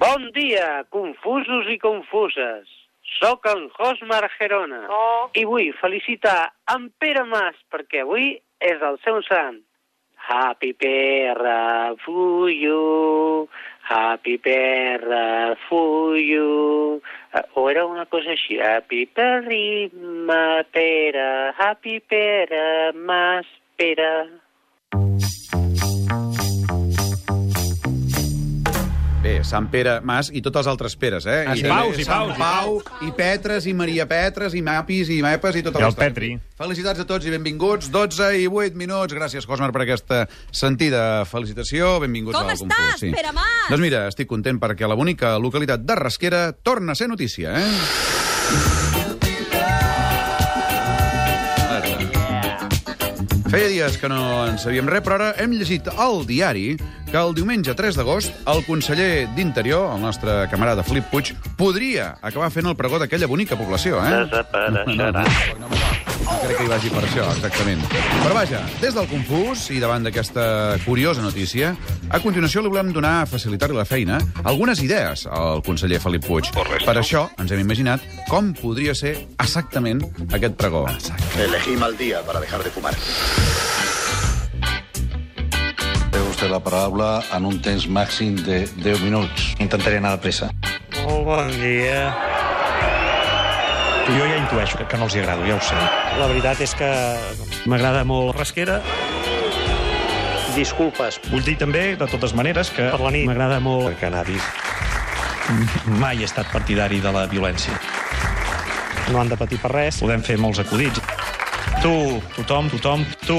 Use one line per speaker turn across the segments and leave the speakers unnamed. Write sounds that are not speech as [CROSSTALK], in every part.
Bon dia, confusos i confuses. Soc en Josmar Gerona
Oh,
i vull felicitar en Pere Mas perquè avui és el seu sant. Happy Pere for you, Happy Pere for you. Eh, O era una cosa així, Happy Perry, ma Pere, Happy Pere, Mas Pere.
Bé, Sant Pere Mas i tots els altres Peres, eh?
Ah, sí.
també
Paus, i
Sant
Paus, i
Pau, i Petres, i Maria Petres, i Mapis, i Mapes, i tota
I el
l'estona.
Petri.
Felicitats a tots i benvinguts. 12 i 8 minuts. Gràcies, Cosmar, per aquesta sentida felicitació. Benvinguts
Com
al
estàs,
concurs.
Pere Mas?
Doncs mira, estic content perquè la bonica localitat de Rasquera torna a ser notícia, eh? Ara. Feia dies que no en sabíem res, però ara hem llegit al diari que el diumenge 3 d'agost el conseller d'Interior, el nostre camarada Felip Puig, podria acabar fent el pregó d'aquella bonica població, eh?
Desapareixerà.
No, no, no, no crec que hi vagi per això, exactament. Però vaja, des del confús i davant d'aquesta curiosa notícia, a continuació li volem donar, facilitar-li la feina, algunes idees al conseller Felip Puig. Per això ens hem imaginat com podria ser exactament aquest pregó.
Elegí mal día para dejar de fumar.
Té vostè la paraula en un temps màxim de 10 minuts. Intentaré anar de pressa.
Molt bon dia.
Jo ja intueixo que, que no els hi agrado, ja ho sé.
La veritat és que m'agrada molt Rasquera. Disculpes
Vull dir també, de totes maneres, que
per la nit. M'agrada molt el cannabis.
mai he estat partidari de la violència.
No han de patir per res.
Podem fer molts acudits. Tu, tothom, tothom, tu.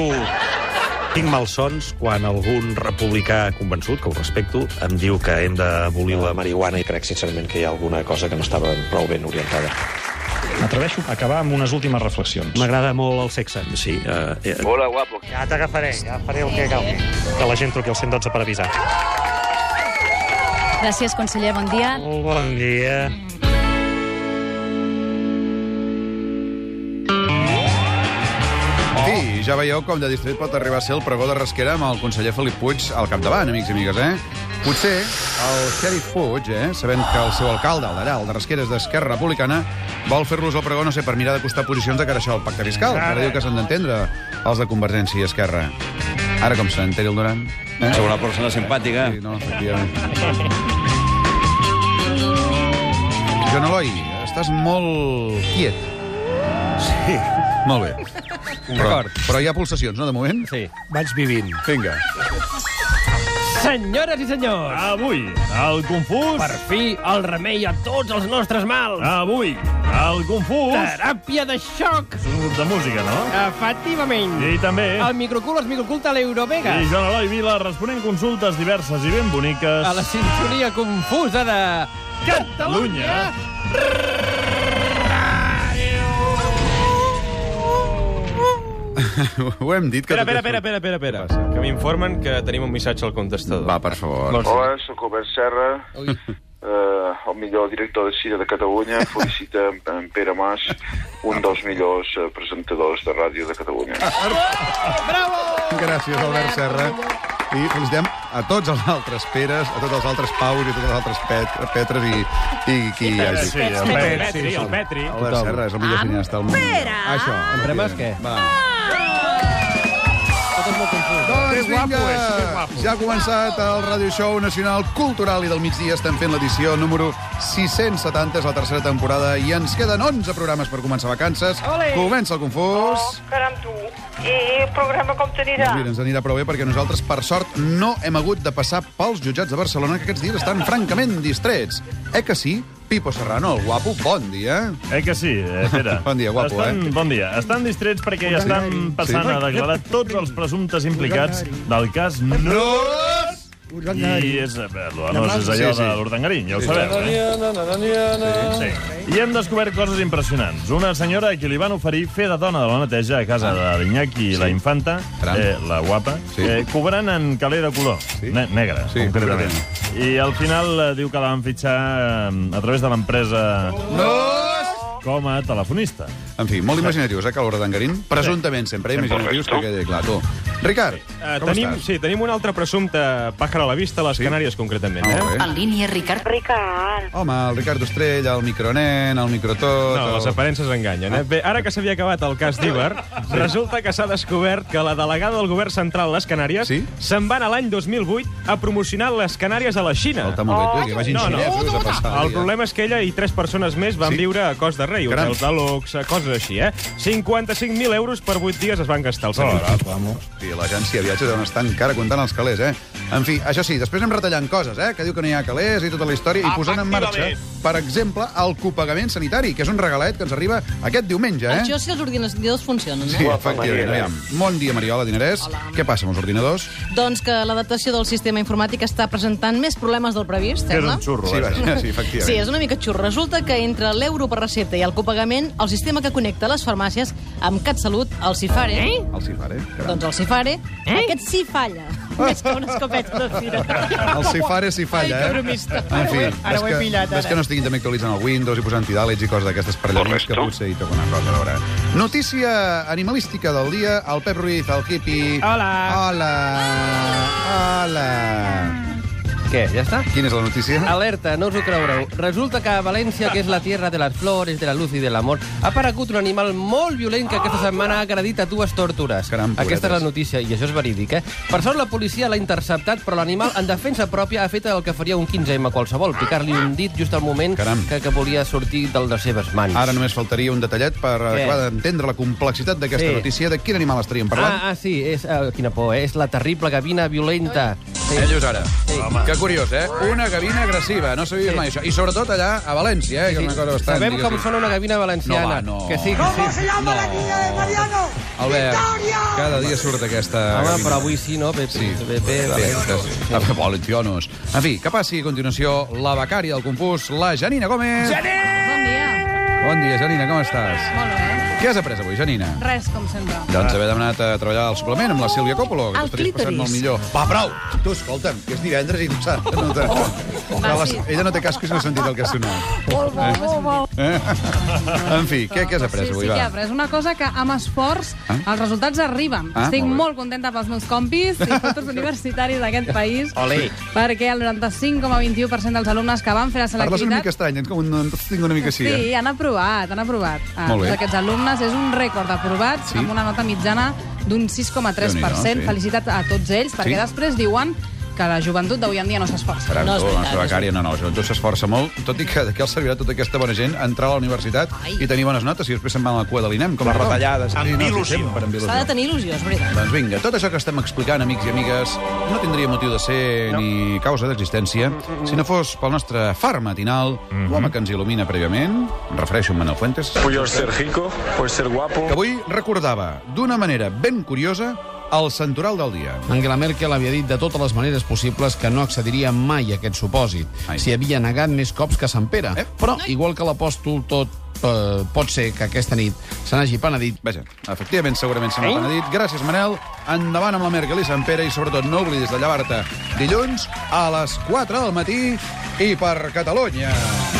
Tinc malsons quan algun republicà convençut, que ho respecto, em diu que hem d'abolir la marihuana i crec sincerament que hi ha alguna cosa que no estava prou ben orientada.
M'atreveixo a acabar amb unes últimes reflexions.
M'agrada molt el sexe.
Sí, eh, eh,
Hola, guapo.
Ja t'agafaré, ja faré el que calgui. Que la gent truqui al 112 per avisar.
Gràcies, conseller, bon dia.
Molt bon dia.
Sí, ja veieu com de distret pot arribar a ser el pregó de Rasquera amb el conseller Felip Puig al capdavant, amics i amigues, eh? Potser el xèrif Puig, eh, sabent que el seu alcalde, el d'allà, el de Rasquera, és d'Esquerra Republicana, vol fer-los el pregó, no sé, per mirar de costar posicions de cara a això al pacte fiscal. que Ara diu que s'han d'entendre els de Convergència i Esquerra. Ara com s'entén el Durant? Eh?
Sobre una persona simpàtica.
Sí, no, efectivament. Joan Eloi, estàs molt quiet. Sí. Molt bé. Però, però hi ha pulsacions, no, de moment?
Sí.
vaig vivint.
Vinga. [LAUGHS]
Senyores i senyors,
Avui, el confús...
per fi el remei a tots els nostres mals.
Avui, el confús...
Teràpia de xoc.
És un grup de música, no?
Efectivament.
I també...
El microcul es microculta a l'Eurovega.
I Joan Eloi Vila responent consultes diverses i ben boniques...
A la sintonia confusa de...
Catalunya.
Ho hem dit que...
Espera,
tot
espera, espera,
és-
espera, espera, espera.
Què passa?
que m'informen que tenim un missatge al contestador.
Va, per favor.
Vols-
Hola, sóc Albert Serra, eh, el millor director de Cira de Catalunya. Felicita en, en Pere Mas, un dels millors eh, presentadors de ràdio de Catalunya.
Gràcies, Albert Serra. I felicitem a tots els altres Peres, a tots els altres Paus i a tots els altres Pet, Petres i, i qui hi hagi.
Sí, el Petri, el Petri.
Albert Serra és el millor cineasta del món.
Pere!
Això.
En Premas, què?
Va. Doncs vinga, ja ha començat el Radio Show Nacional Cultural i del migdia estem fent l'edició número 670, és la tercera temporada i ens queden 11 programes per començar vacances.
Ole!
Comença el confús.
Oh, caram, tu. I el programa com t'anirà?
Doncs mira, ens anirà prou bé perquè nosaltres, per sort, no hem hagut de passar pels jutjats de Barcelona, que aquests dies estan francament distrets. Eh que sí? Pipo Serrano, el guapo, bon dia.
Eh que sí, eh, Pere?
[LAUGHS] Bon dia, guapo,
estan,
eh?
Bon dia. Estan distrets perquè ja estan passant
Sí.
a declarar tots els presumptes implicats del cas No... I és, eh, l'Anós és allò
Sí, sí.
de l'Urdangarín, ja ho sabeu, eh? Sí. I hem descobert coses impressionants. Una senyora a qui li van oferir fer de dona de la neteja a casa de l'Iñaki i la infanta,
Caram.
eh, la guapa,
Sí.
eh, cobrant en caler de color,
Sí.
ne negre,
Sí,
concretament. I al final eh, diu que la van fitxar eh, a través de l'empresa...
Dos!
com a telefonista.
En fi, molt imaginatius, eh, Calor d'Angarín? Presumptament, sempre eh, imaginatius, que quedi clar, tu. Ricard,
Uh,
com
tenim,
estàs?
sí, tenim un altre presumpte pàjaro a la vista, a les sí? Canàries concretament.
Ah,
eh?
bé.
En línia, Ricard.
Ricard.
Home, el Ricard Ostrell, el micronen, el microtot...
No,
el-
les aparences enganyen. Eh? Bé, ara que s'havia acabat el cas d'Iber, sí. resulta que s'ha descobert que la delegada del govern central a les Canàries sí? se'n va anar l'any 2008 a promocionar les Canàries a la Xina.
Falta molt bé, tu, que vagin xinesos a passar el
El
dia.
problema és que ella i tres persones més van sí? viure a cos de rei,
Caram.
hotels de luxe, coses així, eh? 55.000 euros per 8 dies es van gastar els senyors.
Vamos. Sí, l'agència de viatges on està encara comptant els calés, eh? En fi, això sí, després anem retallant coses, eh? Que diu que no hi ha calés i tota la història, i posant en marxa, per exemple, el copagament sanitari, que és un regalet que ens arriba aquest diumenge, eh?
Això si els ordinadors funcionen, no?
Sí, efectivament. Aviam. Bon dia, Mariola Dinerès. Què passa amb els ordinadors?
Doncs que l'adaptació del sistema informàtic està presentant més problemes del previst,
Que és
sembla.
un xurro, eh? Sí, vaja. vaja, sí, efectivament.
Sí, és una mica xurro. Resulta que entre l'euro per recepta i el copagament, el sistema que connecta les farmàcies amb CatSalut, el Cifare... Eh?
El Cifare.
Doncs el Cifare, eh? aquest sí
[LAUGHS]
falla. Més que una escopeta de fira.
El Cifare s'hi falla,
Ai, que
eh?
bromista.
En fi,
Ara
ves
ho he
que-
pillat, ara.
Ves que no estiguin també actualitzant el Windows i posant tidàlets i coses d'aquestes per allà mig, que potser hi té alguna cosa a veure. Notícia animalística del dia, el Pep Ruiz, el Quipi... Hola! Hola! Hola!
Què, ja està?
Quina és la notícia?
Alerta, no us ho creureu. Resulta que a València, que és la tierra de les flores, de la luz i de l'amor, ha aparegut un animal molt violent que aquesta setmana ha agredit a dues tortures. Caram, aquesta és la notícia, i això és verídic, eh? Per sort, la policia l'ha interceptat, però l'animal, en defensa pròpia, ha fet el que faria un 15M a qualsevol, picar-li un dit just al moment Caram. que, que volia sortir del de les seves mans.
Ara només faltaria un detallet per acabar d'entendre la complexitat d'aquesta
Sí.
notícia. De quin animal estaríem parlant?
Ah, ah sí, és, uh, quina por, eh? És la terrible gavina violenta. Sí.
Ellos ara. Que curiós, eh? Una gavina agressiva, no sabia
Sí.
mai això. I sobretot allà, a València, eh? Que és una cosa bastant...
Sabem com
diguéssim.
sona una gavina valenciana.
No, va, no.
Que sí, que sí.
¿Cómo se llama la gavina de
Mariano?
Albert, cada dia surt aquesta...
Home,
gavina.
però avui sí, no? Pepe, sí. Pepe,
Valencianos. Sí. Valencianos. En fi, que passi a continuació la becària del confús, la Janina Gómez.
Bon dia.
Bon dia, Janina, com estàs?
Molt bé.
Què has après avui, Janina?
Res, com sempre.
Doncs haver demanat a treballar al suplement amb la Sílvia Coppolo, que
El
t'ho estaries passant
clítoris. Oh,
molt millor. Va, prou! Tu, escolta'm, que és divendres i tu saps... No te...
Va,
Oh, la-
sí.
Ella no té cascos i no ha sentit el que ha sonat.
Molt bo, molt bo.
Eh? En fi, què, què has
Sí,
après
sí
avui,
que hi ha,
va?
però és una cosa que amb esforç
Ah?
els resultats arriben.
Ah,
Estic
molt bé.
molt contenta pels meus compis
[LAUGHS]
i tots els universitaris d'aquest país
Ole.
perquè el 95,21% dels alumnes que van fer la
Parles una
selectivitat
mica estrany, ens com un, tinc una mica així,
sí,
eh?
han aprovat, han aprovat. Ah,
Molt bé.
tots aquests alumnes és un rècord d'aprovats
Sí.
amb una nota mitjana d'un 6,3%.
Déu-n'hi-do, sí.
Felicitats a tots ells, perquè
Sí.
després diuen que la joventut d'avui en dia no s'esforça.
Esperant no, tu, la nostra becària, no, no, la joventut s'esforça molt, tot i que de què els servirà tota aquesta bona gent entrar a la universitat Ai. i tenir bones notes i després se'n van a la cua de l'INEM, com
Les
tothom.
retallades. Amb
sí,
il·lusió.
sí, sempre amb il·lusió.
S'ha de tenir il·lusió, és veritat.
Doncs vinga, tot això que estem explicant, amics i amigues, no tindria motiu de ser no. ni causa d'existència si no fos pel nostre far matinal, mm -hmm. l'home que ens il·lumina prèviament, em refereixo a en Manuel Fuentes.
Puedo ser rico, puedo ser guapo.
Que avui recordava, d'una manera ben curiosa, el santoral del dia.
Angela Merkel havia dit de totes les maneres possibles que no accediria mai a aquest supòsit. S'hi havia negat més cops que Sant Pere. Eh? Però, igual que l'apòstol, tot eh, pot ser que aquesta nit se n'hagi penedit.
Vaja, efectivament, segurament se n'ha penedit. Gràcies, Manel. Endavant amb la Merkel i Sant Pere i, sobretot, no oblidis de llevar-te dilluns a les 4 del matí i per Catalunya.